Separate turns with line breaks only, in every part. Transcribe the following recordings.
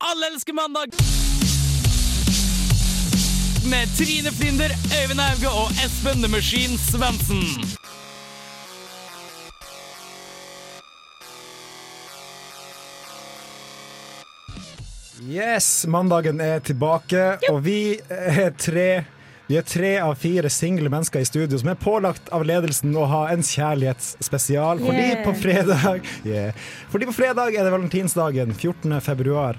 Alle elsker mandag! Med Trine Flinder, Øyvind Hauge og Espen The Machine Svendsen.
Yes, mandagen er tilbake, og vi er tre vi er tre av fire single mennesker i studio som er pålagt av ledelsen å ha en kjærlighetsspesial. Fordi
Yeah.
på fredag yeah. Fordi på fredag er det valentinsdagen, 14. februar.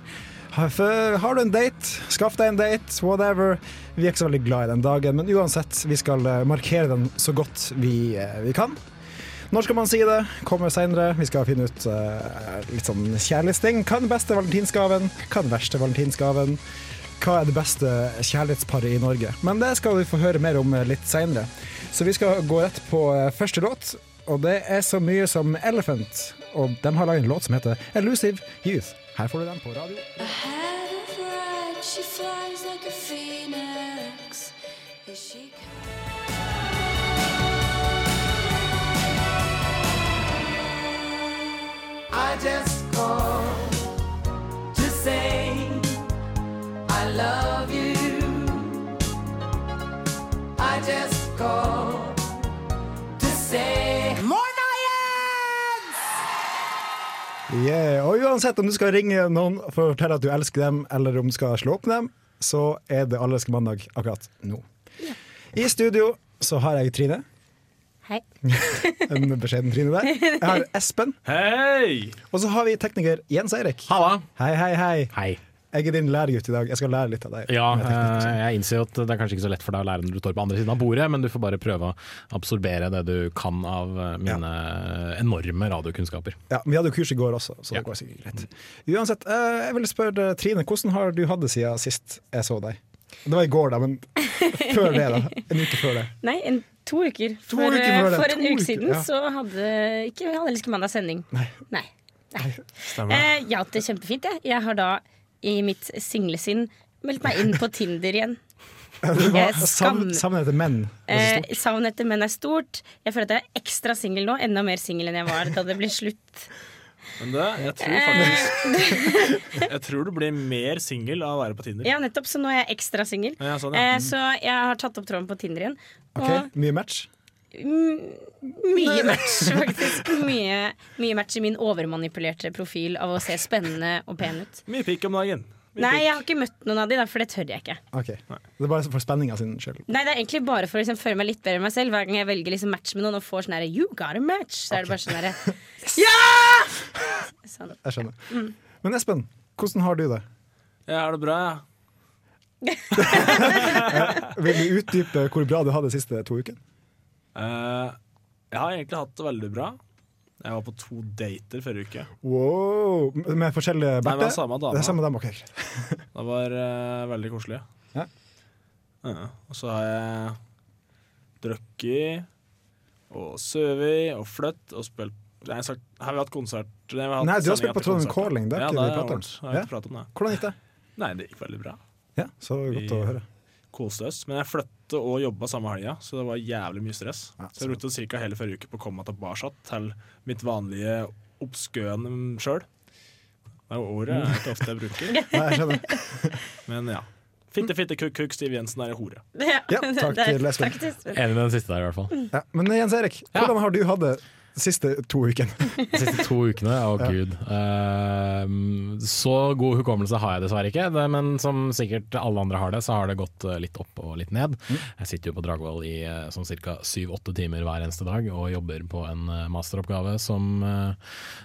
Har for- har du en date, skaff deg en date, whatever. Vi er ikke så veldig glad i den dagen, men uansett, vi skal eh, markere den så godt vi, eh, vi kan. Når skal man si det? Kommer seinere. Vi skal finne ut eh, litt sånn kjærlighetsting. Hva er den beste valentinsgaven? Hva er den verste valentinsgaven? Hva er det beste kjærlighetsparet i Norge? Men det skal vi få høre mer om eh, litt seinere. Så vi skal gå rett på eh, første låt, og det er så mye som Elephant. Og de har laget en låt som heter Elusive Youth. Her får du den på radio.
She flies like a phoenix. Is she
I just called to say I love you. I just called to say
Yeah. Og uansett om du skal ringe noen for å fortelle at du elsker dem, eller om du skal slå opp med dem, så er det Allerske mandag akkurat nå. I studio så har jeg Trine.
Hei.
En beskjeden Trine der. Jeg har Espen.
Hei!
Og så har vi tekniker Jens Eirik.
Halla.
Hei, hei, hei.
Hei.
Jeg er din læregutt i dag. Jeg skal lære litt av deg.
Ja,
med teknikk.
eh, jeg innser jo at det er kanskje ikke så lett for deg å lære når du står på andre siden av bordet, men du får bare prøve å absorbere det du kan av eh, mine enorme radiokunnskaper.
ja, men vi hadde jo kurs i går også, så
Ja.
det går sikkert greit. Uansett, eh, jeg ville spørre Trine, hvordan har du hatt det siden sist jeg så deg? Det var i går, da, men før det, da. En uke før det.
Nei, en, to uker.
To
for,
uker
eh,
før det,
for en
to
uke
uker,
siden
ja.
så hadde ikke Alle elsker mandag sending.
Nei.
Nei. Nei. Eh, jeg har hatt det kjempefint, jeg. Jeg har da i mitt singlesinn meldt meg inn på Tinder igjen.
Det
Jeg
var
skam-
savn- Savnet etter menn. Det er så
Eh,
stort.
Savnet etter menn er stort. Jeg føler at jeg er ekstra singel nå. Enda mer singel enn jeg var da det ble slutt. Eh,
Men det, jeg tror faktisk Jeg tror du blir mer singel av å være på Tinder.
Ja, nettopp, så nå er jeg ekstra singel.
Ja, sånn, ja.
Eh, så jeg har tatt opp tråden på Tinder igjen.
Ok, Mye match?
Mye match, faktisk. Mye, mye match i min overmanipulerte profil av å se spennende og pen ut.
Mye pikk om dagen. Mye
Nei,
pikk.
jeg har ikke møtt noen av de, da, for det tør jeg ikke.
Ok, Det er bare for spenninga sin skyld.
Nei, Det er egentlig bare for å liksom, føle meg litt bedre med meg selv. Hver gang jeg velger liksom, match med noen og får sånn herre You got a match! Så er det bare sånn herre Ja! Sånn.
Jeg skjønner. Men Espen, hvordan har du det?
Jeg har det bra, jeg.
Vil du utdype hvor bra du har det de siste to ukene?
Eh, jeg har egentlig hatt det veldig bra. Jeg var på to dater forrige uke.
Wow. Med forskjellige
Nei, men
Berte?
samme dame.
Det er samme dame, ok. greit.
Det var eh, veldig koselig.
Ja.
Eh, og så har jeg drukket og sovet og flytt og spilt Nei, sagt, har vi hatt konsert? Nei, vi
Nei, du har
sending
spilt på
etter
Trondheim
konsert.
Calling, det har
ja,
ikke
det
vi
har jeg
pratet om.
vært. Jeg har
Ja.
ikke pratet om det.
Hvordan gikk det?
Nei, det gikk veldig bra.
Ja, så godt å høre.
koste oss. Men jeg flyttet og jobba samme helga, så det var jævlig mye stress.
Ja,
så jeg brukte ca. hele forrige uke på å komme meg tilbake til mitt vanlige oppskøen sjøl. Det er jo ordet jeg ikke ofte jeg bruker.
Nei, jeg skjønner.
Men ja. Fitte, fitte, kukk, kukk, Stiv Jensen er ei hore.
Ja,
Ja, takk
det er-
til Espen.
takk til Espen.
Enig med den siste der, i hvert fall.
Ja. Men Jens Erik, hvordan har du hatt det de siste to ukene?
De siste to ukene, å gud. Eh, så god hukommelse har jeg dessverre ikke, det, men som sikkert alle andre har det, så har det gått eh, litt opp og litt ned. Jeg sitter jo på Dragvoll i eh, sånn ca. syv-åtte timer hver eneste dag og jobber på en eh, masteroppgave som eh,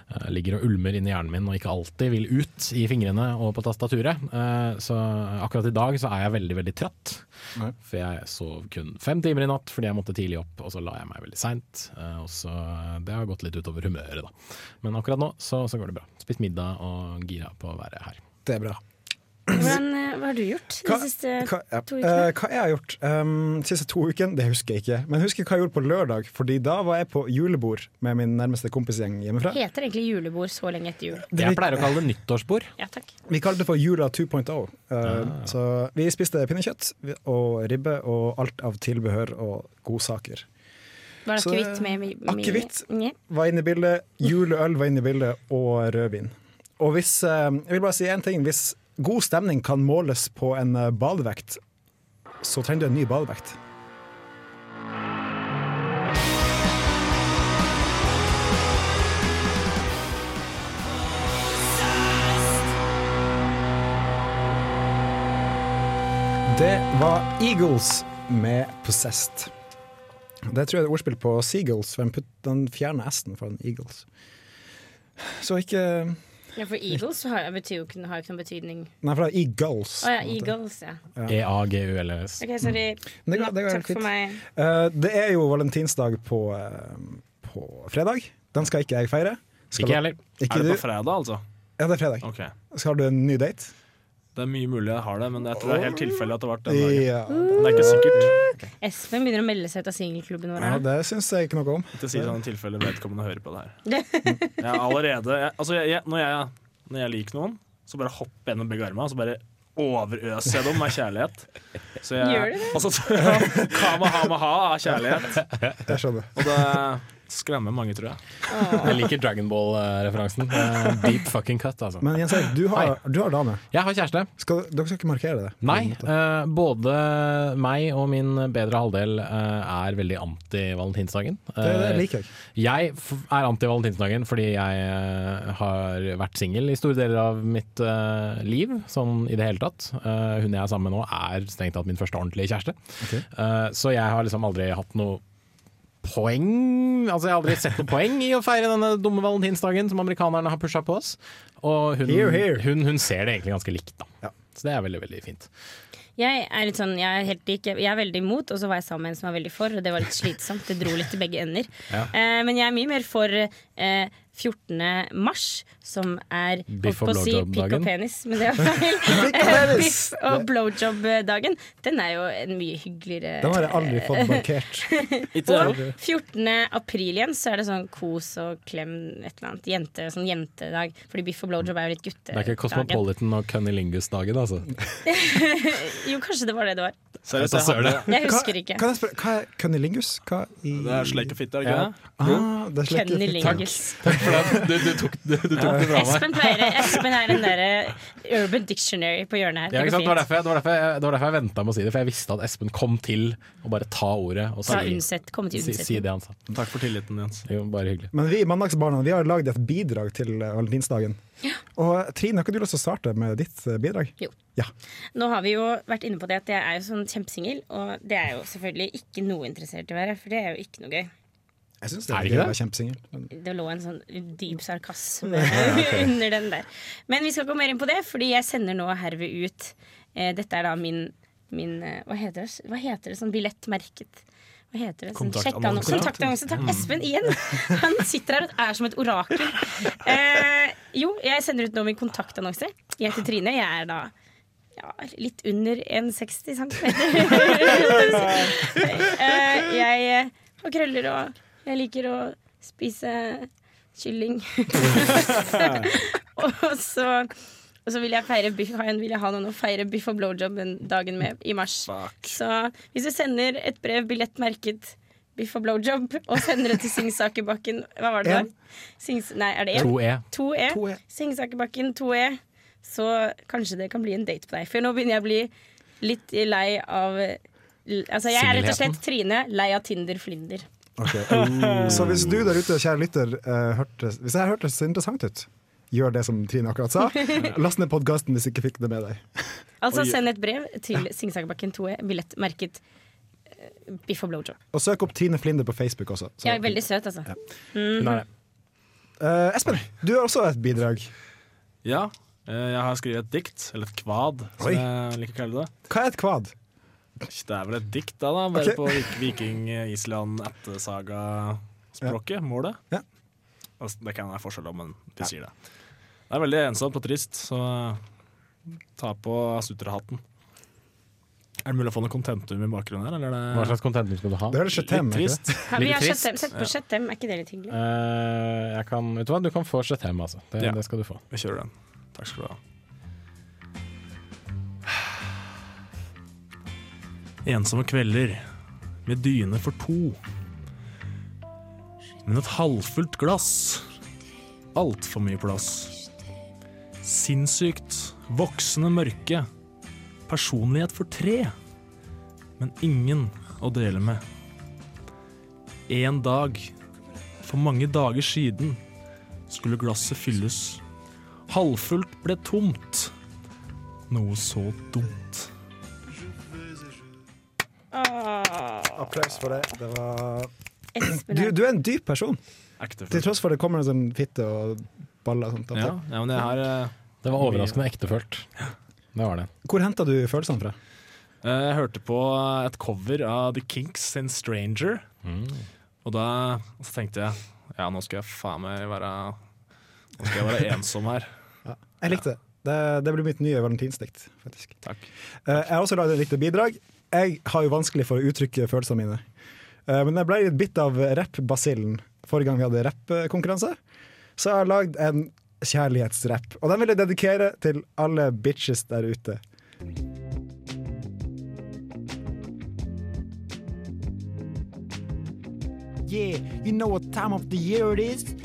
eh, ligger og ulmer inni hjernen min og ikke alltid vil ut i fingrene og på tastaturet. Eh, så akkurat i dag så er jeg veldig, veldig trøtt. For jeg sov kun fem timer i natt fordi jeg måtte tidlig opp, og så la jeg meg veldig seint. Eh, og så Det har gått litt utover humøret, da. Men akkurat nå så, så går det bra. Spist middag og gira på å være her.
Det er bra.
Hvordan, eh, hva har du gjort de siste
hva, ja.
to ukene?
Eh, hva jeg har gjort um, de siste to ukene, det husker jeg ikke. Men jeg husker hva jeg gjorde på lørdag, Fordi da var jeg på julebord med min nærmeste kompisgjeng hjemmefra.
Heter egentlig julebord så lenge etter jul?
Jeg pleier å kalle det nyttårsbord.
Ja, takk.
Vi kalte det for jula 2.0. Eh, Så vi spiste pinnekjøtt og ribbe og alt av tilbehør og godsaker.
Var det
Så- eh,
akevitt med mi- mi-
Akevitt.
Nje.
var inne i bildet, juleøl var inne i bildet, og rødvin. Og hvis, eh, jeg vil bare si en ting, hvis god stemning kan måles på en eh, badevekt, så trenger du en ny badevekt. Det var Eagles med 'Possessed'. Det tror jeg er et ordspill på Seagulls. for Den, putt, den fjerner S-en fra en Eagles. Så ikke
Ja, for eagles har, betyr jo, ikke- har jo ikke noen betydning.
Nei, for det er Eagles.
Å
på
ja,
en måte.
eagles, ja.
E E-A-G-U-L-S.
Ok, sorry.
Mm. Men det går-
Nå,
det går helt
Takk for
fint.
meg.
Eh, det er jo valentinsdag på, eh, på fredag. Den skal ikke jeg feire. Skal
Ikke jeg heller.
Ikke
Er
du?
det på fredag, altså?
Ja, det er fredag.
Ok.
Skal du en ny date?
Det er mye mulig jeg har det, men jeg tror det er helt tilfeldig at det har vært den dagen.
Ja.
Men det er ikke sikkert.
Espen begynner å melde seg ut av singelklubben vår.
ja,
her.
det syns jeg ikke noe om.
Ikke si sånn i tilfelle vedkommende hører på det her. Jeg er allerede jeg, Altså, jeg, jeg, når, jeg, når jeg liker noen, så bare hopper jeg gjennom begge armene, og så bare overøser jeg dem med kjærlighet. Så jeg,
Gjør du det?
Altså, så- Kamahamaha av kjærlighet.
Jeg skjønner.
Og det skremmer mange, tror jeg.
Jeg liker Dragon Ball-referansen. Eh, Deep fucking cut, altså.
Men Jens Erik, du har, du har dame.
Jeg har kjæreste.
Skal, dere skal ikke markere det? på
Nei,
en måte.
eh, både meg og min bedre halvdel eh, er veldig anti-valentinsdagen.
Det, det
Eh,
liker jeg.
Jeg f- er anti-valentinsdagen fordi jeg eh, har vært singel i store deler av mitt eh, liv, sånn i det hele tatt. Eh, hun jeg er sammen med nå er strengt tatt min første ordentlige kjæreste. Eh, så jeg har liksom aldri hatt noe poeng Altså jeg har aldri sett noe poeng i å feire denne dumme valentinsdagen som amerikanerne har pusha på oss. Og hun,
Hear, hear.
hun, hun ser det egentlig ganske likt, da.
Ja.
Så det er veldig, veldig fint.
Jeg er litt sånn, jeg er helt lik. Jeg er veldig imot, og så var jeg sammen med en som var veldig for. Og det var litt slitsomt. Det dro litt til begge ender.
Ja.
Eh, men jeg er mye mer for eh, 14. mars, som er
Biff
holdt
og
på å si
blowjob-dagen.
pikk og penis, men det er feil. Eh, Biff og blowjob-dagen. Den er jo en mye hyggeligere
Den har jeg aldri fått markert.
og 14. april igjen så er det sånn kos og klem et eller annet. Jente, sånn jentedag. Fordi biff og blowjob er jo litt
Det er ikke
guttedagen.
Cosmopolitan og Cunnilingus-dagen, altså.
Jo, kanskje det var det det var.
Seriøst,
Da
jeg
søren.
hadde
Jeg husker ikke.
Kan jeg spørre, hva er cunnilingus? Hva i
Det er sleik og fitte, er det ikke
Ja.
det?
Ah, det er slekt-
Kennelingus.
Du, du tok, du, du tok det fra meg.
Espen, pleier, Espen er den derre Urban Dictionary på hjørnet her.
Ja, ikke sant? Det
går
var
fint.
derfor jeg, det var derfor jeg, det var derfor jeg venta med å si det, for jeg visste at Espen kom til å bare ta ordet og
Ta
si,
unnsett, komme til
si,
unnsetning.
si det han sa.
Takk for tilliten, Jens.
Det er jo bare hyggelig.
Men vi i Mandagsbarna vi har lagd et bidrag til eh, valentinsdagen. Og Trine, har ikke du lyst til å starte med ditt eh, bidrag?
Jo.
Ja.
Nå har vi jo vært inne på det at jeg er jo sånn kjempesingel, og det er jo selvfølgelig ikke noe interessert i å være, for det er jo ikke noe gøy.
Jeg syns
Er
det
det
er gøy å
ikke det?
være kjempesingel. men-
Det lå en sånn dyp sarkasme under den der. Men vi skal gå mer inn på det, fordi jeg sender nå herved ut eh, Dette er da min, min eh, hva, heter det, hva heter det sånn billettmerket? Hva heter det? Sånn
Kontaktannonse.
sjekkannonse. Kontaktannonse. Takk, Espen igjen! Han sitter her og er som et orakel. Eh, jo, jeg sender ut nå min kontaktannonse. Jeg heter Trine. Jeg er da ja, litt under 1,60 cm. Eh, jeg eh, har krøller og jeg liker å spise kylling. og så og så vil jeg, feire biff, har jeg- vil jeg ha noen å feire biff og blowjob den dagen med i mars. Så hvis du sender et brev billett merket biff og blowjob og sender det til Singsakerbakken Hva var det det var?
En.
Sings, nei, er det én?
2E.
2E.
To E.
Singsakerbakken 2E. Så kanskje det kan bli en date på deg. For nå begynner jeg å bli litt lei av Altså Jeg er rett og slett Trine, lei av Tinder-flinder.
Så hvis du der ute, kjære lytter, eh, hørte, hvis det her hørtes interessant ut, gjør det som Trine akkurat sa. Last ned podkasten hvis du ikke fikk det med deg.
Altså
Oi.
Send et brev til Singsakerbakken 2E, billett merket eh, Biff og blowjob.
Og søk opp Trine Flinder på Facebook også. så-
Jeg er veldig søt, altså.
Hun er det.
Eh, Espen, du har også et bidrag.
Ja, eh, jeg har skrevet et dikt, eller et kvad, som
Oi.
jeg liker å kalle det.
Hva er et kvad?
Det er vel et dikt, da, da bare
Ok.
på vik- viking-Island-ættesaga-språket, målet.
Ja.
Altså, Det kan være forskjell om, men de sier det. Det er veldig ensomt og trist, så ta på sutrehatten. Er det mulig å få noe kontentum i bakgrunnen her, eller
Hva
er det
slags content skal du ha?
Det høres
litt
Chetem ut.
trist?
Her, vi
Litt
har
trist.
Chatham. Sett på Chatham, er ikke det litt hyggelig?
Eh, jeg kan, vet du hva, du kan få Chetem, altså. Det,
Ja.
det skal du få.
Vi kjører den. Takk skal du ha. Ensomme kvelder med dyne for to. Men et halvfullt glass Altfor mye plass. Sinnssykt, voksende mørke. Personlighet for tre, men ingen å dele med. En dag, for mange dager siden, skulle glasset fylles. Halvfullt ble tomt. Noe så dumt.
Åh,
Applaus for det. det var...
Espen
du, du er en dyp person,
Ekte
til tross for det kommer en sånn fitte og baller. og Sånt,
Ja,
etter.
ja, men jeg har eh,
Det var overraskende ektefølt. Det var det.
Hvor henta du følelsene fra?
Eh, Jeg hørte på et cover av The Kinks sin 'Stranger'. Mm. Og da og så tenkte jeg ja, nå skal jeg faen meg være Nå skal jeg være ensom her.
Jeg likte det. Det, det blir mitt nye valentinsdikt. faktisk.
Takk.
Eh, Jeg har også lagd et lite bidrag. Jeg har jo vanskelig for å uttrykke følelsene mine. Eh, Men jeg ble litt bitt av rapp-basillen forrige gang vi hadde rappkonkurranse. Så jeg har lagd en kjærlighetsrapp, og den vil jeg dedikere til alle bitches der ute. Yeah, you know what time of the year it is?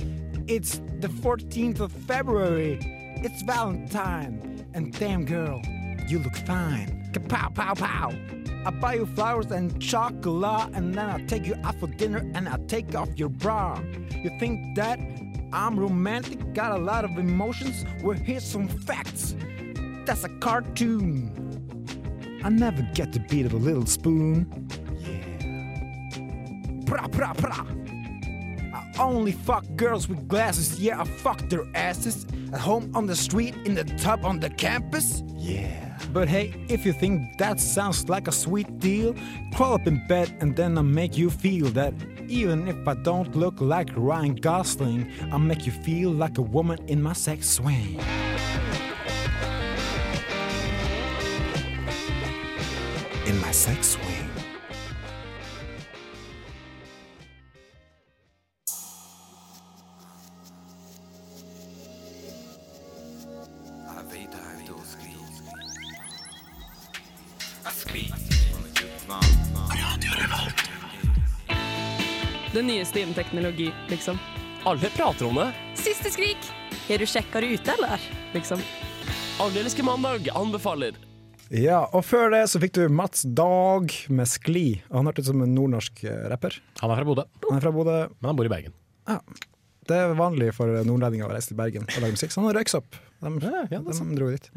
It's the 14th of February. It's Valentine. And damn girl, you look fine. Kapow, pow, pow. I buy you flowers and chocolate, and then I take you out for dinner and I take off your bra. You think that I'm romantic, got a lot of emotions? Well, here's some facts. That's a cartoon. I never get the beat of a little spoon. Pra, pra, pra. I only fuck girls with glasses. Yeah, I fuck their asses. At home, on the street, in the tub, on the campus. Yeah. But hey, if you think that sounds like a sweet deal, crawl up in bed and then I'll make you feel that even if I don't look like Ryan Gosling, I'll make you feel like a woman in my sex swing. In my sex swing.
Den nyeste innen teknologi, liksom.
Alle prater om det.
Siste skrik!
Har du sjekka det ute, eller? Liksom.
Aldeles ikke mandag anbefaler.
Ja, og før det så fikk du Mats Dag med Skli. Og Han hørtes ut som en nordnorsk eh, rapper.
Han er fra Bodø,
Han er fra Bodø.
men han bor i Bergen.
Det er vanlig for nordlendinger å reise til Bergen og lage musikk, så han røyks opp. De,
ja, det er Mm.
de dro dit.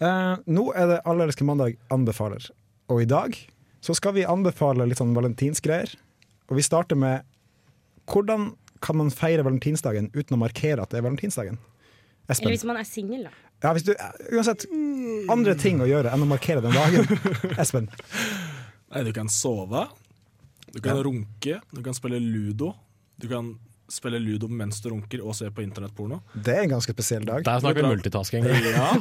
Eh, nå er det Alle elsker mandag anbefaler, og i dag så skal vi anbefale litt sånn valentinsgreier. Og vi starter med hvordan kan man feire valentinsdagen uten å markere at det er valentinsdagen?
Eller
Espen?
hvis man er singel, da.
Ja, hvis du, eh, uansett, andre ting å gjøre enn å markere den dagen. Espen?
Nei, du kan sove. Du kan runke. Du kan spille ludo. Du kan spille ludo mens du runker og se på internettporno.
Det er en ganske spesiell dag.
Der snakker vi multitasking.
Ja.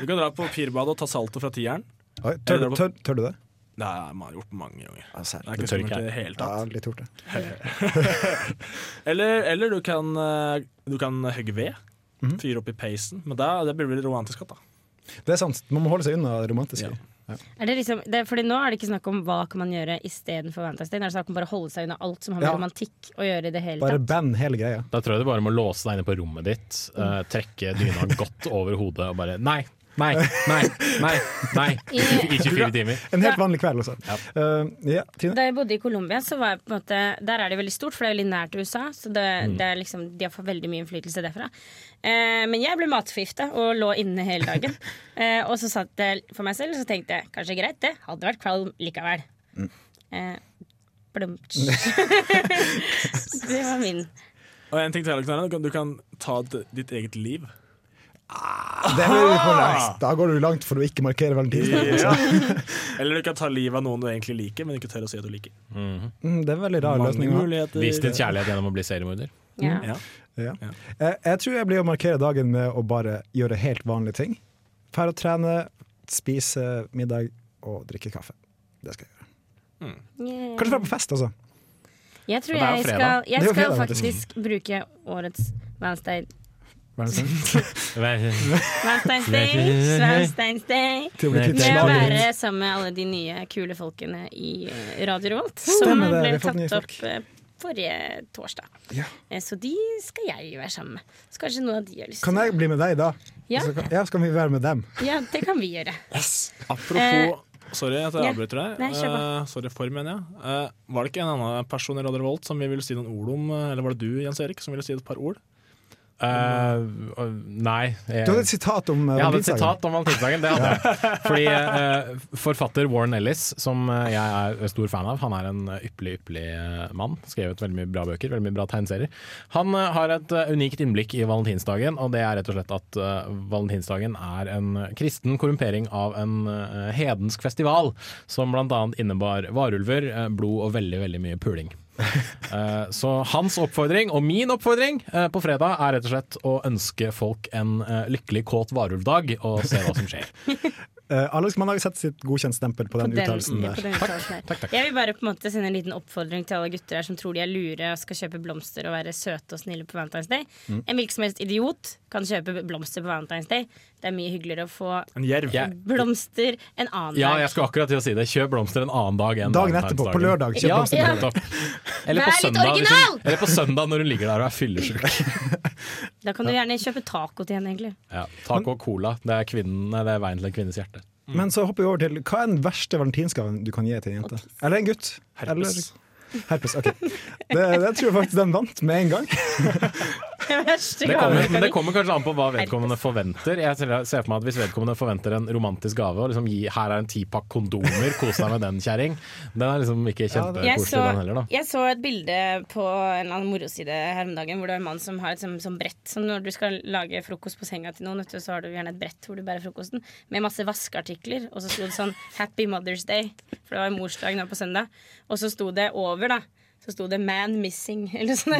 Du kan dra på pirbadet og ta saltet fra tieren.
Oi, tør, tør, tør du det?
Det har jeg gjort mange ganger. Det er
Ja,
ikke
Det tør ikke
skummelt i
jeg.
det hele tatt.
litt gjort det.
Eller, eller du kan, eh, du kan hogge ved.
Mhm.
Fyre opp i peisen. Men da- det blir vel romantisk igjen, da.
Det er sant. Man må holde seg unna det romantiske.
Ja.
Er det liksom, det, fordi nå er det ikke snakk om hva kan man gjøre istedenfor Valentine's Day. Nå er det snakk om bare å holde seg unna alt som har med
Ja.
romantikk å gjøre i det hele
Bare
tatt.
band hele greia.
Da tror jeg du bare må låse deg inne på rommet ditt, eh, trekke dyna godt over hodet og bare nei, nei, nei, nei, nei i 24 timer.
En helt vanlig kveld, altså. Uh, ja, Trine?
Da jeg bodde i Colombia, så var jeg på en måte Der er det veldig stort, for det er veldig nært USA. Så det,
Mm.
det er liksom, de har fått veldig mye innflytelse derfra. Eh, men jeg ble matforgifta og lå inne hele dagen. eh, og så satt jeg for meg selv, så tenkte jeg kanskje greit, det hadde vært kvalm likevel.
Mm.
Eh, blumtsj. det var min.
Og en ting til Alex, Nara, du kan, du kan ta d- ditt eget liv.
Det er jo
Ah!
for nice. Da går du langt for å ikke markere valentinsdagen.
Eller du kan ta livet av noen du egentlig liker, men ikke tør å si at du liker.
Mm, det er en veldig rar
Mange
løsning. å ha.
muligheter.
Vis din kjærlighet gjennom å bli seriemorder.
Ja.
Ja.
Ja. Eh, Jeg tror jeg blir å markere dagen med å bare gjøre helt vanlige ting. Fær å trene, spise middag og drikke kaffe. Det skal jeg gjøre.
Yeah.
Kanskje dra på fest, altså.
Jeg tror
Og det er jo
jeg
fredag.
skal,
Det er
jeg
jo
skal
fredag,
faktisk bruke årets Valentine's
Valentine's.
Valentine's Day, Valentine's Day
Til å bli kvitt
med å
slaget.
være sammen med alle de nye kule folkene i eh, Radio Revolt. Som
Stemmer Oh, det, vi
ble
har fått nye
tatt
folk.
opp eh, forrige torsdag.
Ja.
Eh, Så de skal jeg være sammen med. Så kanskje noen av de har lyst
Kan jeg bli med deg da?
Ja.
Så kan, ja, så kan vi være med dem.
Ja, det kan vi gjøre. Eh,
Apropos Sorry at jeg
ja.
avbryter deg.
Nei, kjør på.
Eh, sorry for, mener jeg. Eh, var det ikke en annen person i Radio Revolt som vi ville si noen ord om, eh, eller var det du, Jens Erik, som ville si et par ord?
Eh, øh, nei. Jeg,
Du hadde et sitat om eh,
jeg hadde et
valentinsdagen.
sitat om valentinsdagen. Det hadde jeg. Fordi eh, forfatter Warren Ellis, som eh, jeg er stor fan av, han er en eh, ypperlig, ypperlig eh, mann. Skrevet veldig mye bra bøker, veldig mye bra tegneserier. Han eh, har et eh, unikt innblikk i valentinsdagen, og det er rett og slett at eh, valentinsdagen er en kristen korrumpering av en eh, hedensk festival, som bl.a. innebar varulver, eh, blod og veldig, veldig mye puling. Eh, Så hans oppfordring, og min oppfordring eh, på fredag, er rett og slett å ønske folk en eh, lykkelig kåt varulvdag, og se hva som skjer.
Eh, Alex, man har jo sett sitt godkjentstempel på den,
på den-
uttalelsen
ja,
der.
på den uttalelsen der. Jeg vil bare på en måte sende en liten oppfordring til alle gutter her som tror de er lure og skal kjøpe blomster og være søte og snille på Valentine's Day.
Mm.
En hvilken som helst idiot kan kjøpe blomster på Valentine's Day. Det er mye hyggeligere å få
En jerv.
Jeg,
blomster en annen
ja,
dag.
jeg skulle akkurat til å si det. Kjøp blomster en annen dag enn
Dagen etterpå, på
valentinsdagen.
lørdag, kjøp
Ja,
blomster.
nettopp. Eller på,
Vær litt
søndag, hvis hun,
original!
eller på søndag når hun ligger der og er fyllesyk.
Da kan du gjerne kjøpe taco til henne, egentlig.
Ja, taco og cola, det er, kvinnen, nei, det er veien til en kvinnes hjerte.
Men så hopper vi over til hva er den verste valentinsgaven du kan gi til en jente? Eller en gutt?
Herpes.
Eller, herpes, ok. Det, det tror jeg faktisk den vant med en gang.
Det verste
Det
gaven
kommer,
du kan
det
gi.
kommer kanskje an på hva vedkommende forventer. Jeg ser ser for meg at Hvis vedkommende forventer en romantisk gave og liksom gi, her er en tipakk kondomer, kos deg med den, kjerring. Den er liksom ikke
Jeg
kjempekoselig,
så,
den heller. da
jeg så et bilde på en eller annen moroside her om dagen hvor det er en mann som har et sånn, sånn brett. Som når du skal lage frokost på senga til noen, vet du, så har du gjerne et brett hvor du bærer frokosten. Med masse vaskeartikler. Og så sto det sånn 'Happy Mother's Day', for det var jo morsdag nå på søndag. Og så sto det over, da. Så sto det 'Man missing', eller sånn.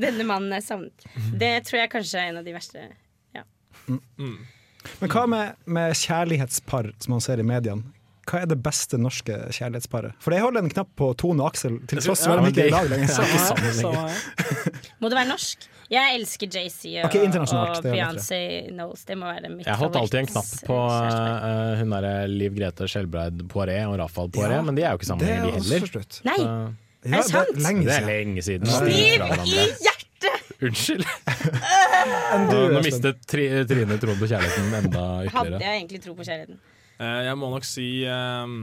Denne mannen er savnet. Det tror jeg kanskje er en av de verste. Ja.
Men hva med, med kjærlighetspar som man ser i mediene? Hva er det beste norske kjærlighetsparet? For jeg holder en knapp på Tone og Aksel, til tross for at de ikke er i lag lenger.
Samme her, samme her.
Må det være norsk? Jeg elsker JC og,
Ok, internasjonalt,
og
det er det,
Beyoncé Knowles. Det må være mitt
Jeg holdt alltid en knapp
favoritt-
på
kjærestepark.
eh, hun derre Liv Grete Skjelbreid Poiré og Rafael Poiré,
Ja,
men de er jo ikke sammen
Det er
lenger, de
også
heller.
slutt.
Nei!
eh,
Ja,
det sant?
er lenge
Det er
siden.
lenge siden.
Kniv
Fra
i
hverandre.
hjertet!
Unnskyld.
Enn du,
Nå
Espen?
mistet tri, Trine troen på kjærligheten enda
Hadde
ytterligere.
jeg egentlig tro på kjærligheten.
Eh, jeg må nok si ehm,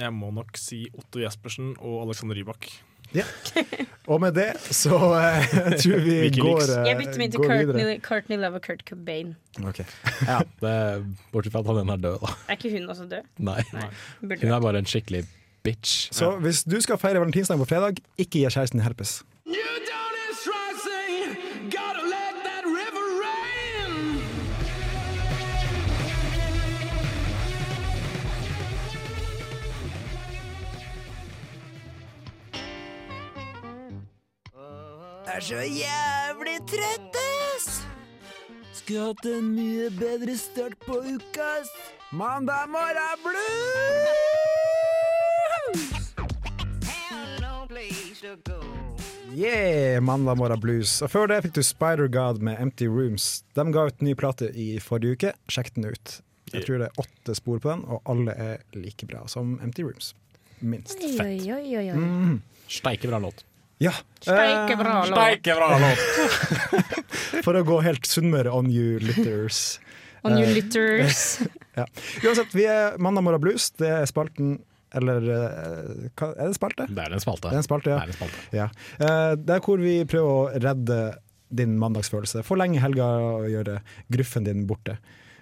Jeg må nok si Otto Jespersen og Alexander Rybak.
Og med det så eh, tror vi
Wikileaks.
går, eh,
Jeg bytter meg til
går
Courtney, Courtney Love og Kurt Cobain.
Ok.
Ja, det, bortsett fra at han ene er død, da.
Er ikke hun også død?
Nei.
Burde
Hun
vært.
er bare en skikkelig bitch.
Så hvis du skal feire valentinsdagen på fredag, ikke gi kjæresten din herpes.
er så jævlig trøtt, ass! Skulle hatt en mye bedre start på uka, ass. Mandag morgen blues!
Yeah, mandag morgen blues. Og før det fikk du Spider God med Empty Rooms. De ga ut ny plate i forrige uke. Sjekk den ut. Jeg tror det er åtte spor på den, og alle er like bra som Empty Rooms. Minst. Mhm.
Oi, oi, oi, oi, oi.
Mm.
Steike bra låt.
Ja.
Steike bra låt.
Steike bra låt!
eh, For å gå helt Sunnmøre on you litters.
On you litters.
Ja. Uansett, vi er Mandag morgen blues. Det er spalten Eller eh, hva, er det spalte?
Det er en spalte.
Det er en spalte, ja.
Det er en spalte.
Ja. Eh, Det er hvor vi prøver å redde din mandagsfølelse. Forlenge helga og gjøre gruffen din borte.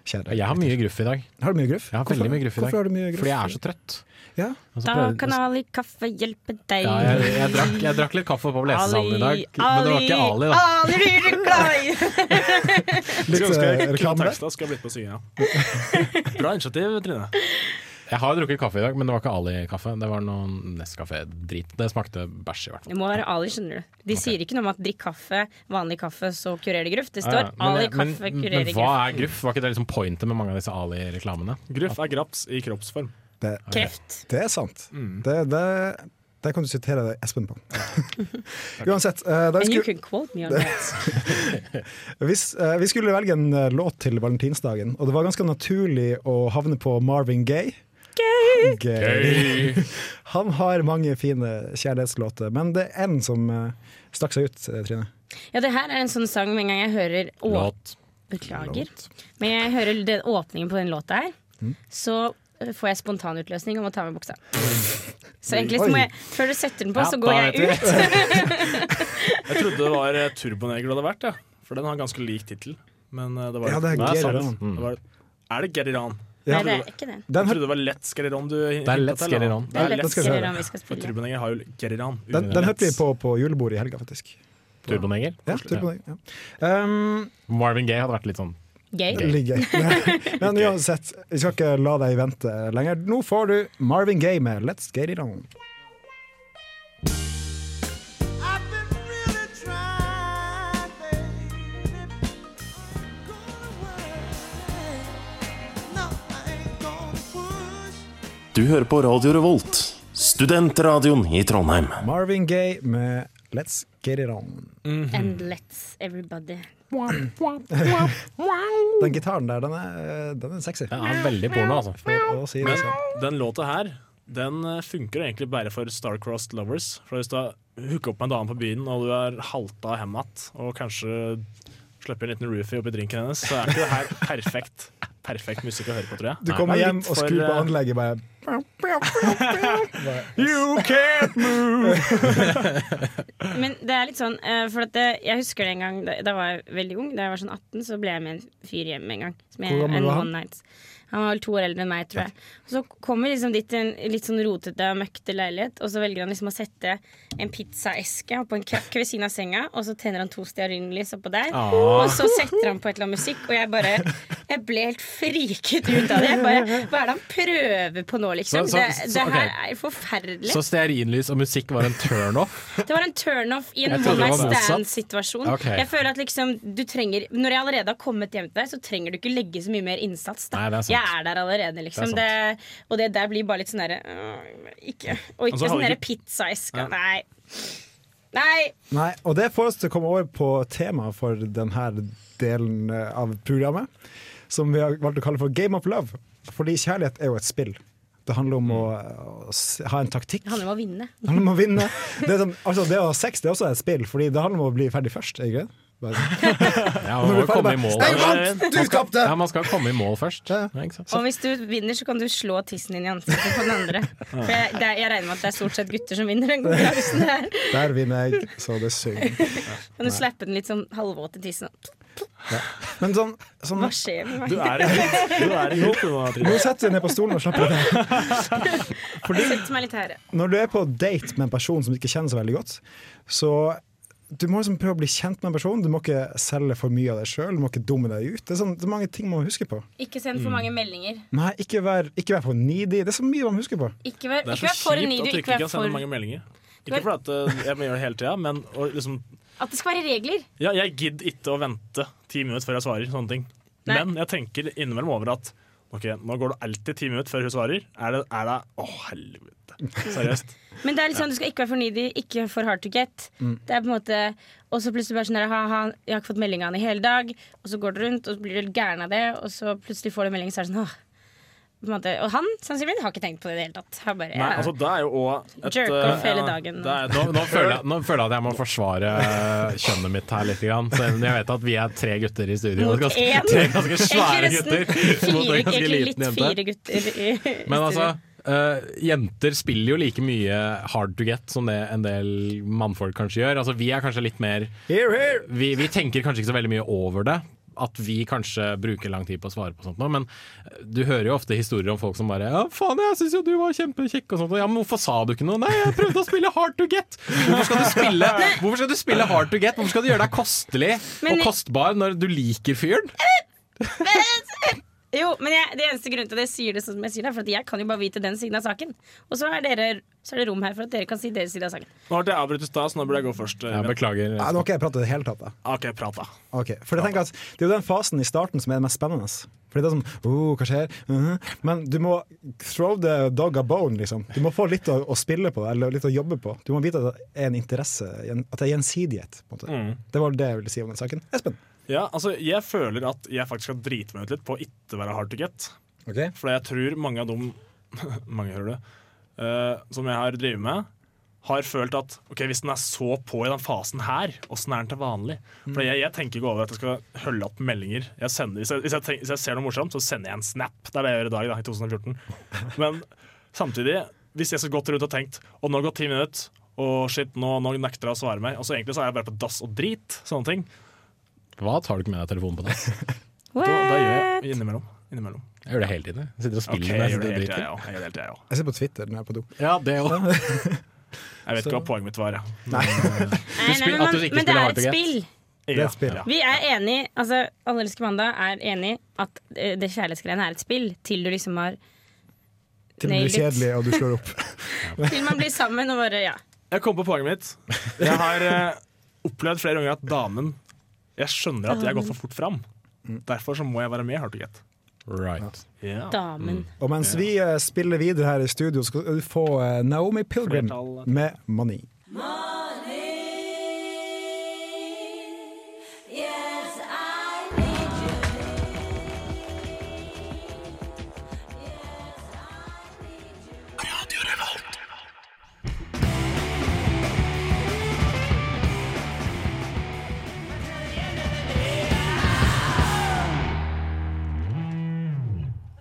Kjære.
Jeg har mye gruff i dag.
Har du mye gruff?
Jeg har
Hvorfor-
veldig mye gruff i dag.
Hvorfor har du mye gruff?
Fordi jeg er så trøtt.
Ja.
Og så
Da
prøvde-
kan Ali kaffe hjelpe deg.
ja, jeg, jeg, drakk, jeg drakk litt kaffe på lesesalen i dag, men det var ikke Ali, da.
Ali, blir du glad i?
Litt
Skulle ønske
eh,
jeg kunne
reklame.
teksta, skulle jeg blitt med å synge. Ja. Bra initiativ, Trine.
Jeg har drukket kaffe i dag, men det var ikke Ali-kaffe. Det var noe Nescafé-drit. Det smakte bæsj, i hvert fall.
Det må være Ali, skjønner du. De sier ikke noe om at drikk kaffe, vanlig kaffe, så kurerer det gruff. Det
Ja,
står
ja. Men-
Ali,
men-
kaffe, kurerer
Men
gruff.
hva er gruff? Var ikke det liksom pointet med mange av disse Ali-reklamene?
Gruff er graps i kroppsform.
Det,
Kreft.
det er sant.
Mm.
Det, det, det kan du sitere Espen på. Uansett, eh, da vi
And you
skulle,
can quote me on that.
hvis, eh, vi skulle velge en eh, låt til valentinsdagen, og det var ganske naturlig å havne på Marvin Gaye. Gøy. Han har mange fine kjærlighetslåter, men det er én som eh, stakk seg ut, eh, Trine.
Ja, det her er en sånn sang med en gang jeg hører å,
Låt.
Beklager. Men jeg hører den åpningen på den låta her, så eh, får jeg spontanutløsning om å ta med buksa. Så egentlig så må
Oi.
jeg, før du setter den på,
Ja,
så
da
går jeg
vet
ut.
Jeg trodde det var eh, Turboneger det hadde vært, ja. for den har ganske lik tittel. Men eh, det var
Ja, det er
Nei, sant.
Geriran.
Det var- Er det Geriran?
Nei,
Ja.
det er ikke den.
Jeg
Den, hør-
trodde det var Let's Geriran du Det
er Let's Geriran.
Det er
den skal vi
lettere
høre.
om vi skal
For
spille.
Turboneger har jo Geriran.
den, den hørte vi på på julebordet i helga, faktisk.
Turboneger.
Ja,
Koselig.
Turbo Neger, ja. Um,
Marvin Gaye hadde vært litt sånn
Gøy.
ligger. Men uansett, vi skal ikke la deg vente lenger. Nå får du Marvin Gaye med 'Let's Get It On'.
Du hører på Radio Revolt, studentradioen i Trondheim.
Marvin Gaye med 'Let's Get It On'.
And let's everybody.
Den gitaren der, den er, den er sexy.
Den er veldig porno, altså.
For å si det sånn.
Den låta her den eh, funker egentlig bare for star-crossed lovers. For Hvis du har hooka opp med en dame på byen, og du er halta og hemmet, og kanskje slipper en liten roofie oppi drinken hennes, så er ikke det her perfekt perfekt musikk å høre på, tror jeg.
Du kommer
Det er
hjem
litt
og
for,
skrur på
eh,
anlegget bare
You can't move
Men det er litt sånn, eh, for at det, jeg husker det en gang da, da var jeg veldig ung, da jeg var sånn 18, så ble jeg med en fyr hjem en gang. Som jeg,
Hvor gammel
en
var han?
one night. Han var vel to år eldre enn meg, tror jeg. Og så kommer liksom dit til en litt sånn rotete og møkkete leilighet, og så velger han liksom å sette en pizzaeske på en krakke ved siden av senga, og så tenner han to stearinlys oppå der,
Ah.
og så setter han på et eller annet musikk, og jeg bare Jeg ble helt friket ut av det. Jeg bare, Hva er det han prøver på nå, liksom?
Så- så-
det,
så-
det her
ok.
er forferdelig.
Så stearinlys og musikk var en turnoff?
Det var en turnoff i en
Jeg
one
trodde det
night
var motsatt.
stand-situasjon.
Ok.
Jeg føler at liksom du trenger Når jeg allerede har kommet hjem til deg, så trenger du ikke legge så mye mer innsats. Da.
Nei, det er sant.
jeg er der allerede, liksom.
Det
Det og det der blir bare litt sånn derre øh, Ikke Og ikke
Altså, hadde
sånn derre
ikke-
pizzaeske. Nei. Nei.
Nei, og det får oss til å komme over på temaet for denne delen eh, av programmet, som vi har valgt å kalle for Game of Love. Fordi kjærlighet er jo et spill. Det handler om å,
Mm.
å s- ha en taktikk.
Det handler om å vinne.
Det handler om å vinne. Det, er sånn, altså, det å ha sex det er også et spill, Fordi det handler om å bli ferdig først. Ikke? det? Bare, sånn, Når
Ja, man må
du
jo komme i
ferdig,
mål.
bare, «Nei, vant! Du tapte!»
Ja, man skal komme i mål først. Ja, ikke sant?
Og hvis du vinner, så kan du slå tissen din i ansiktet på den andre. For jeg, det, er- jeg regner med at det er stort sett gutter som vinner den konkurransen her.
Der vinner jeg, så det synger.
Kan du slappe den litt sånn halvvåt i tissen?
Men sånn, sånn
Hva skjer med meg?
Du er i hit, du er i hit du, nå, Trine.
Nå setter jeg ned på stolen og slapper av.
Jeg setter meg litt her.
Når du er på date med en person som du ikke kjenner så veldig godt, så du må liksom prøve å bli kjent med en person. Du må ikke selge for mye av deg sjøl. Du må ikke dumme deg ut. Det er, sånn, det er mange ting man må huske på.
Ikke send
Mm.
for mange meldinger.
Nei, ikke vær, ikke vær for needy. Det er så mye man må huske på.
Ikke vær,
Det er
ikke
så
vær for ny,
kjipt
du
at du
ikke
ikke
vær
kan sende
for
mange meldinger. Ikke fordi at, eh, jeg må gjøre det hele tida, men å liksom
At det skal være regler.
Ja, jeg gidder ikke å vente ti minutter før jeg svarer sånne ting.
Nei.
Men jeg tenker innimellom over at Ok, nå går det alltid ti minutter før hun svarer. Er det, er det Å, helvete. Seriøst.
Men det er litt sånn, du skal ikke være for needy, ikke for hard to get. Det er på en måte Og så plutselig bare sånn der, ha-ha, jeg har ikke fått melding av han i hele dag. Og så går du rundt, og så blir du gæren av det, og så plutselig får du en melding, så er det sånn åh. På en måte. Og han sannsynligvis har ikke tenkt på det i det hele tatt. Han bare,
Nei,
ja.
altså, det er jo også et
Jerk off
eh,
hele
ja,
dagen.
Det er,
Nå, nå, føler jeg, nå føler jeg at jeg må forsvare eh, kjønnet mitt her litt. Grann. Så jeg vet at vi er tre gutter i studio.
Mot
Ganske,
én.
tre ganske svære
Egentlig
gutter.
nesten
Mot
fire,
en ganske
egentlig litt
liten jente.
fire gutter. i-
Men altså, eh, jenter spiller jo like mye hard to get som det en del mannfolk kanskje gjør. Altså, vi er kanskje litt mer
Here, here!
vi, vi tenker kanskje ikke så veldig mye over det. At vi kanskje bruker lang tid på å svare på sånt, nå, men du hører jo ofte historier om folk som bare 'Ja, faen, jeg syns jo du var kjempekjekk', og sånt. Og, 'Ja, men hvorfor sa du ikke noe?' 'Nei, jeg prøvde å spille hard to get'. Hvorfor skal du spille, hvorfor skal du spille hard to get? Hvorfor skal du gjøre deg kostelig
Men-
og kostbar når du liker fyren?
Jo, men jeg, det eneste grunnen til at jeg sier det sånn som jeg sier det, er for at jeg kan jo bare vite den siden av saken. Og så er, dere, så er det rom her for at dere kan si deres side av saken.
nå ble jeg avbrutt i stad, så nå burde jeg gå først. eh,
Jeg beklager.
Nei, nå har ikke jeg pratet i det hele tatt. Da.
OK, prat, da.
Ok, For jeg tenker at Det er jo den fasen i starten som er den mest spennende. Fordi det er sånn oh, hva skjer? Mhm. Men du må throw the dog a bone, liksom. Du må få litt å, å spille på, eller litt å jobbe på. Du må vite at det er en interesse, at det er gjensidighet. på en måte. Det var det jeg ville si om den saken. Espen?
Ja, altså, jeg føler at jeg faktisk skal drite meg ut litt på å ikke være hard to get.
Okay.
For jeg tror mange av dem mange hører det, eh, som jeg har drevet med, har følt at ok, hvis den er så på i den fasen her, åssen er den til vanlig? For jeg, jeg tenker ikke over at jeg skal holde opp meldinger. Jeg sender, hvis, jeg, hvis, jeg tenk, hvis jeg ser noe morsomt, så sender jeg en snap. Det er det jeg gjør i dag, da, i 2014. Men samtidig, hvis jeg skulle gått rundt og tenkt Og nå har det gått ti minutter, og shit, nå, nå nekter jeg å svare meg. Og så egentlig så er jeg bare på dass og drit. Sånne ting.
Hva tar du ikke med deg telefonen på dass?
Da, da gjør jeg innimellom. innimellom.
Jeg gjør det hele tiden. Jeg sitter og spiller
Ok,
med
jeg gjør
sitter
det
og
hele
driter.
tiden, jeg også. Jeg gjør det hele tiden, jeg også.
Jeg ser på Twitter når jeg er på do.
Ja, det òg.
Jeg vet ikke hva poenget mitt var, jeg.
Nei.
Nei, nei, men,
at du
man-
ikke
men det
spiller
er
hard
et
to get.
spill.
Det er et spill.
Vi er enige, altså Alle elsker mandag er enig at eh, det kjærlighetsgreiene er et spill til du liksom har
Til det blir
Nailed it.
kjedelig, og du slår opp.
Til man blir sammen og bare ja.
Jeg kom på poenget mitt. Jeg har eh, opplevd flere ganger at damen Jeg skjønner at jeg har gått for fort fram. Derfor så må jeg være med, har du gett.
Right.
Ja.
Damen.
Og mens vi eh, spiller videre her i studio, skal du få eh, Naomi Pilgrim
Flertall.
med 'Money'.
Yes, I need you.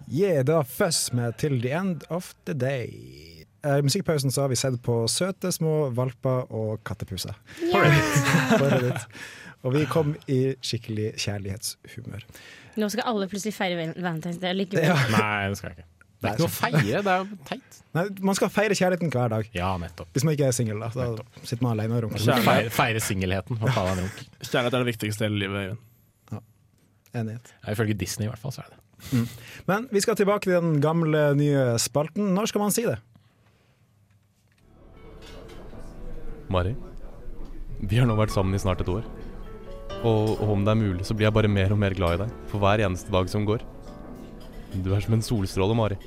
Yeah, da Fuzz med 'Till the End of the Day'. Eh, I musikkpausen så har vi sett på søte små valper og kattepuser. På Reddit. og vi kom i skikkelig kjærlighetshumør.
Nå skal alle plutselig feire val- Valentine's Day likevel.
Ja.
Nei, det skal jeg ikke. Det er ikke noe å feire, det er jo teit.
Nei, man skal feire kjærligheten hver dag.
Ja, nettopp.
Hvis man ikke er singel, da. Da sitter man alene og runker.
Feire, feire singelheten. Hva faen er en runk?
Kjærlighet er det viktigste i hele livet. Øyvind.
Enighet.
Ja, Ifølge Disney i hvert fall, så er det det.
Men vi skal tilbake til den gamle, nye spalten. Når skal man si det?
Mari, vi har nå vært sammen i snart et år. Og, og om det er mulig, så blir jeg bare mer og mer glad i deg for hver eneste dag som går. Du er som en solstråle, Mari.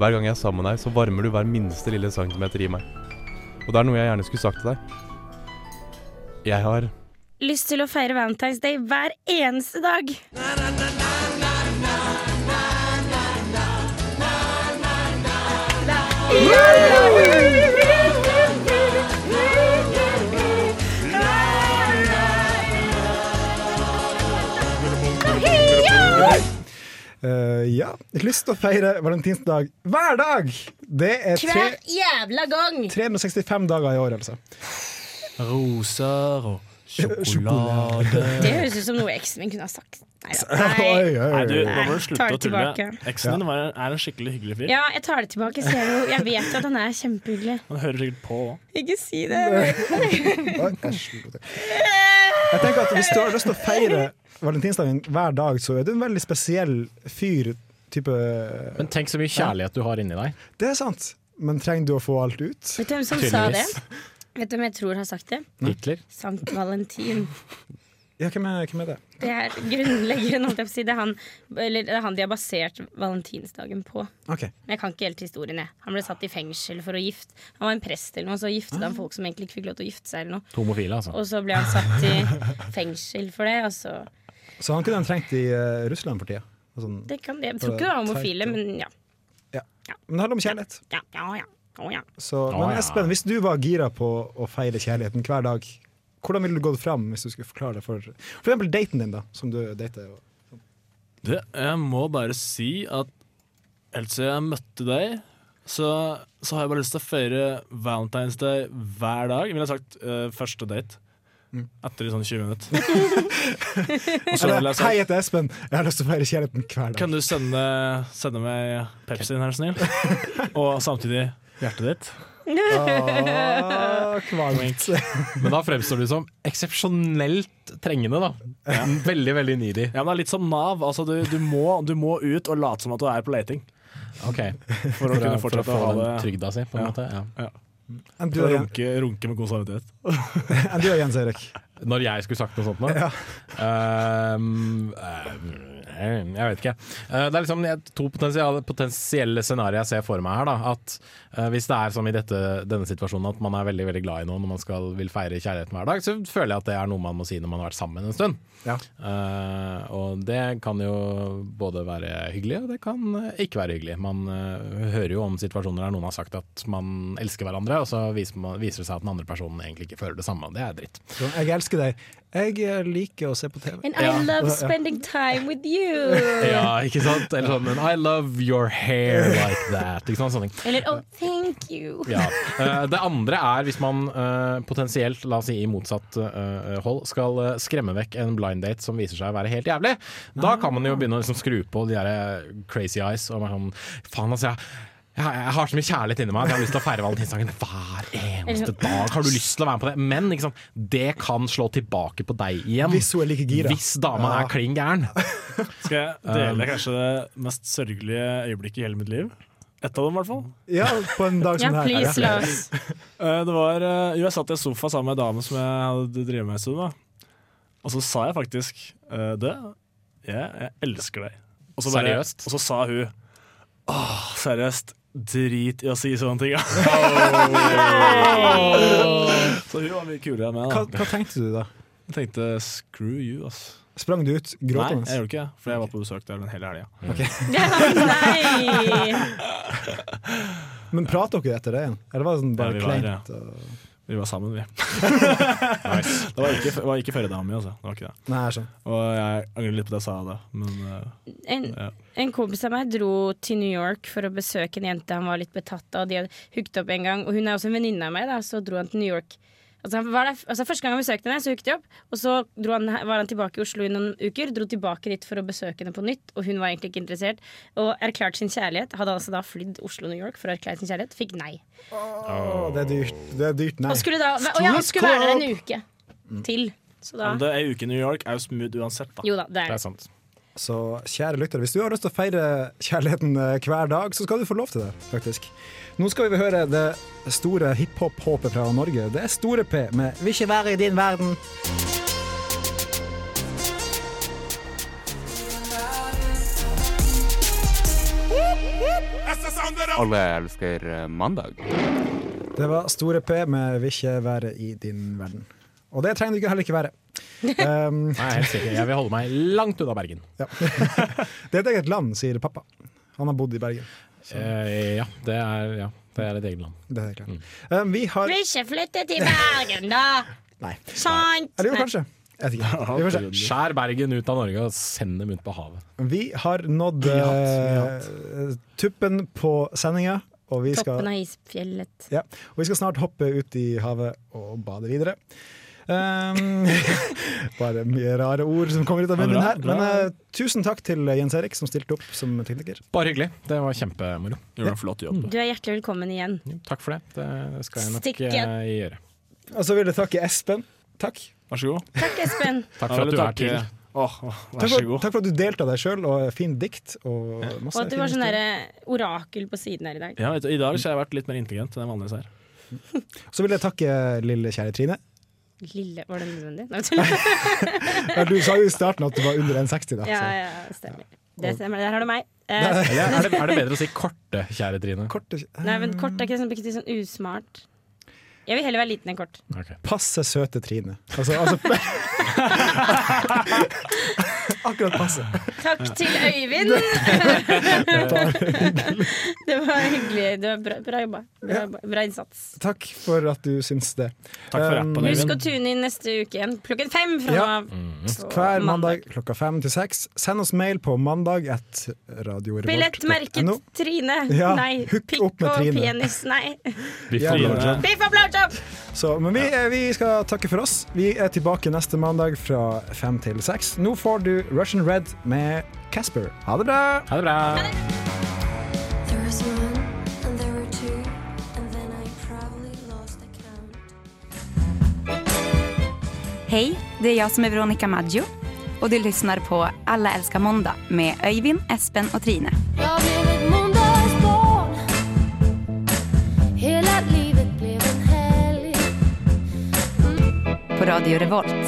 Hver gang jeg er sammen med deg, så varmer du hver minste lille centimeter i meg. Og det er noe jeg gjerne skulle sagt til deg. Jeg har
Lyst til å feire Valentine's Day hver eneste dag.
Eh, ja. Lyst til å feire valentinsdag hver dag! Det er tre,
Hver jævla gang!
365 dager i år, altså.
Roser og sjokolade.
Det høres ut som noe eksen min kunne ha sagt. Neida.
Oi, oi,
Nei, du,
oi.
nå må du
ta
slutte
det
å tulle.
tilbake.
Eksen din var, er en skikkelig hyggelig fyr.
Ja, jeg tar det tilbake. Så jeg, jo, jeg vet jo at han er kjempehyggelig.
Han hører sikkert på òg.
Ikke si det.
Oi, æsj. Jeg tenker at Hvis du har lyst til å feire valentinsdagen hver dag, så er du en veldig spesiell fyr. Type
Men tenk så mye kjærlighet du har inni deg.
Det er sant, men trenger du å få alt ut?
Vet du hvem som sa det?
Tydeligvis.
Vet du hvem jeg tror har sagt det?
Hitler.
Sankt Valentin.
Ja, hvem er, hvem er det?
Det er grunnleggeren, holdt jeg på å si. Det er han, eller, det er han de har basert valentinsdagen på.
Ok,
Men jeg kan ikke helt historien, jeg. Han ble satt i fengsel for å gifte. Han var en prest eller noe, så giftet han folk som egentlig ikke fikk lov til å gifte seg eller noe.
Homofile, altså.
Og så ble han satt i fengsel for det, og så
Så han kunne han trengt i eh, Russland for tida. Og Sånn.
Det kan det. Jeg tror ikke det var homofile, men ja.
Men det handler om kjærlighet.
Ja, ja, ja. Å, ja.
Så,
Å,
men
ja.
Espen, hvis du var gira på å feire kjærligheten hver dag, hvordan ville du gått fram hvis du skulle forklare det for For eksempel daten din, da, som du dater? og-
Du, jeg må bare si at helt siden jeg møtte deg, så, så har jeg bare lyst til å feire Valentine's Day hver dag. Jeg ville ha sagt eh, første date.
Mm.
Etter i sånn 20 minutter. Og så
Eller,
ville jeg
Hei,
sagt
jeg heter Espen, jeg har lyst til å feire kjærligheten hver dag.
Altså, Kan du sende, sende meg Pepsien, er du snill? Og samtidig hjertet ditt.
Åh, kvalmt.
Men da fremstår du som eksepsjonelt trengende, da. Veldig, veldig needy.
Ja, men det er litt som Nav. Altså, du, du, må, du må ut og late som at du er på leting.
Ok,
For
For
å
å, for
kunne
å
fortsette
få
å ha
den
det.
trygda si, på en måte. Ja.
Enn du,
Og
og Jen-
runke, runke med god samvittighet.
enn du og Jens Erik?
Når jeg skulle sagt noe sånt nå? Ehm, eh, Eh, Jeg vet ikke. Eh, Det er liksom et- to potensielle, potensielle scenarioer jeg ser for meg her. Da. At eh, Hvis det er som i dette, denne situasjonen at man er veldig veldig glad i noen og man skal, vil feire kjærligheten hver dag, så føler jeg at det er noe man må si når man har vært sammen en stund. Eh, og det kan jo både være hyggelig, og det kan eh, ikke være hyggelig. Man eh, hører jo om situasjoner der noen har sagt at man elsker hverandre, og så viser, man, viser det seg at den andre personen egentlig ikke føler det samme. og Det er dritt.
Sånn, Jeg elsker deg. Jeg eh, liker å se på TV.
And I love spending time with you.
Ja, ikke sant? Eller sånn, men I love your hair like that. Ikke sant, sånne ting.
Eller oh, thank you.
Ja. Eh, Det andre er hvis man eh, potensielt, la oss si i motsatt eh, hold, skal eh, skremme vekk en blind date som viser seg å være helt jævlig. Da kan
Ah.
man jo begynne å liksom skru på de der eh, crazy eyes og være sånn Faen, altså. Jeg, jeg, jeg har så mye kjærlighet inni meg at jeg har lyst til å feire valentinsdagen hver eneste dag. Har du lyst til å være med på det? Men ikke sant? det kan slå tilbake på deg igjen.
Hvis hun er like gira.
Hvis dama
Ja.
er klin gæren.
Skal jeg dele kanskje det mest sørgelige øyeblikket i hele mitt liv? Ett av dem, i hvert fall.
Ja, på en dag som
Ja,
det sånn her.
please, la oss. Eh, Det var, eh, jo, jeg satt i en sofa sammen med ei dame som jeg hadde drevet med en stund. Da. Og så sa jeg faktisk eh, det. Jeg, jeg elsker deg. Og så bare,
Seriøst?
Og så sa hun Åh, seriøst. Drit i å si sånne ting, ja. så hun var mye kulere enn meg,
Hva,
da.
hva tenkte du da?
Jeg tenkte screw you, ass.
Sprang du ut gråtende?
Nei, jeg gjorde ikke det, for jeg var på besøk der den hele helga.
Men prater dere etter det igjen? Eller var det sånn bare
Ja, vi var-
kleint?
ja.
og-
Vi var sammen, vi. Det var ikke, det var ikke førerdama mi, altså. Det var ikke det.
Nei, sånn. jeg skjønner.
Og jeg angrer litt på det jeg sa da, men eh,
En,
ja.
en kompis av meg dro til New York for å besøke en jente han var litt betatt av. De hadde hooket opp en gang, og hun er også en venninne av meg, da, så dro han til New York. Altså, han var der, altså Første gang han besøkte henne, så hooket de opp. Og så dro han, var han tilbake i Oslo i noen uker, dro tilbake dit for å besøke henne på nytt. Og hun var egentlig ikke interessert. Og erklærte sin kjærlighet. Hadde altså da flydd Oslo-New York for å erklære sin kjærlighet. Fikk nei.
Å, det er dyrt. Det er dyrt, nei.
Og skulle da og ja, han skulle være der en uke
Mm.
til. Så da
Men det, Ei uke i New York er jo smooth uansett, da.
Jo da, det er det. Det er
sant.
Så kjære lyttere, hvis du har lyst til å feire kjærligheten eh, hver dag, så skal du få lov til det, faktisk. Nå skal vi høre det store hiphop-håpet fra Norge. Det er Store P med 'Vil ikke være i din verden'.
Alle elsker eh, mandag.
Det var Store P med 'Vil ikke være i din verden'. Og det trenger du ikke heller ikke være. Um,
Nei, helt sikkert. Jeg vil holde meg langt unna Bergen.
det er et eget land, sier pappa. Han har bodd i Bergen.
Eh, ja, det er, ja, det er et eget land.
Det er
Mm.
klart. Um, vi har
Vil ikke flytte til Bergen, da!
Nei.
Sant?
Eller jo, kanskje. Jeg vet ikke. Vi får se.
Skjær Bergen ut av Norge og send dem ut på havet.
Vi har nådd
Vi har
eh, tuppen på sendinga, og vi skal,
Toppen av isfjellet.
ja, og vi skal snart hoppe ut i havet og bade videre. Um, bare mye rare ord som kommer ut av
Ja,
munnen
bra,
her.
bra.
Men eh, tusen takk til Jens Erik som stilte opp som tekniker.
Bare hyggelig. Det var kjempemoro. Gjorde en flott jobb.
Du er hjertelig velkommen igjen.
Takk for det. Det skal jeg nok
Stikke.
eh, gjøre.
Og så vil jeg takke Espen. Takk.
Vær så god.
Takk, Espen.
Takk for at du er til.
Åh, åh,
Takk
vær så
for,
god.
takk for at du delte av deg sjøl, og fint dikt. Og,
Og
masse
at du
fine
var sånn
historier.
derre orakel på siden her i dag.
Ja, vet du, I dag så har jeg vært litt mer intelligent enn jeg vanligvis er.
Så vil jeg takke lille kjære Trine.
Lille Var det nødvendig? Nei, tuller.
Ja, Du sa jo i starten at du var under 1,60, da.
Ja,
så-
ja, stemmer. Det stemmer. Der har du meg. Eh,
Eller er det, er det bedre å si korte, kjære Trine?
Nei, men kort er ikke sånn, ikke sånn usmart. Jeg vil heller være liten enn kort.
Passe søte Trine. Altså, altså Akkurat passe.
Takk til Øyvind! Det var hyggelig. Det var bra, bra jobba. Bra, bra innsats.
Takk for at du syns det.
Takk for rappen,
Husk å tune inn neste uke igjen klokken fem fra nå
Ja.
av. Så-
Hver mandag klokka fem til seks. Send oss mail på mandag at
Billettmerket
radiorevolt.no.
Trine.
Ja,
Nei.
hook
Pikk
opp med
og
Trine.
penis. Nei.
Ja, Trine.
Biff og blowjob!
Så, men vi, eh, vi skal takke for oss. Vi er tilbake neste mandag fra fem til seks. Nå får du Russian Red med Casper. Ha det bra!
Ha det bra.
There was one, and there were two, and then I probably lost account.
Hej, det är jag som är Veronica Maggio och du lyssnar på Alla älskar måndag med Öyvind, Espen och Trine.
Jag blev ett måndagsbarn Hela livet blev en helg
På Radio Revolt.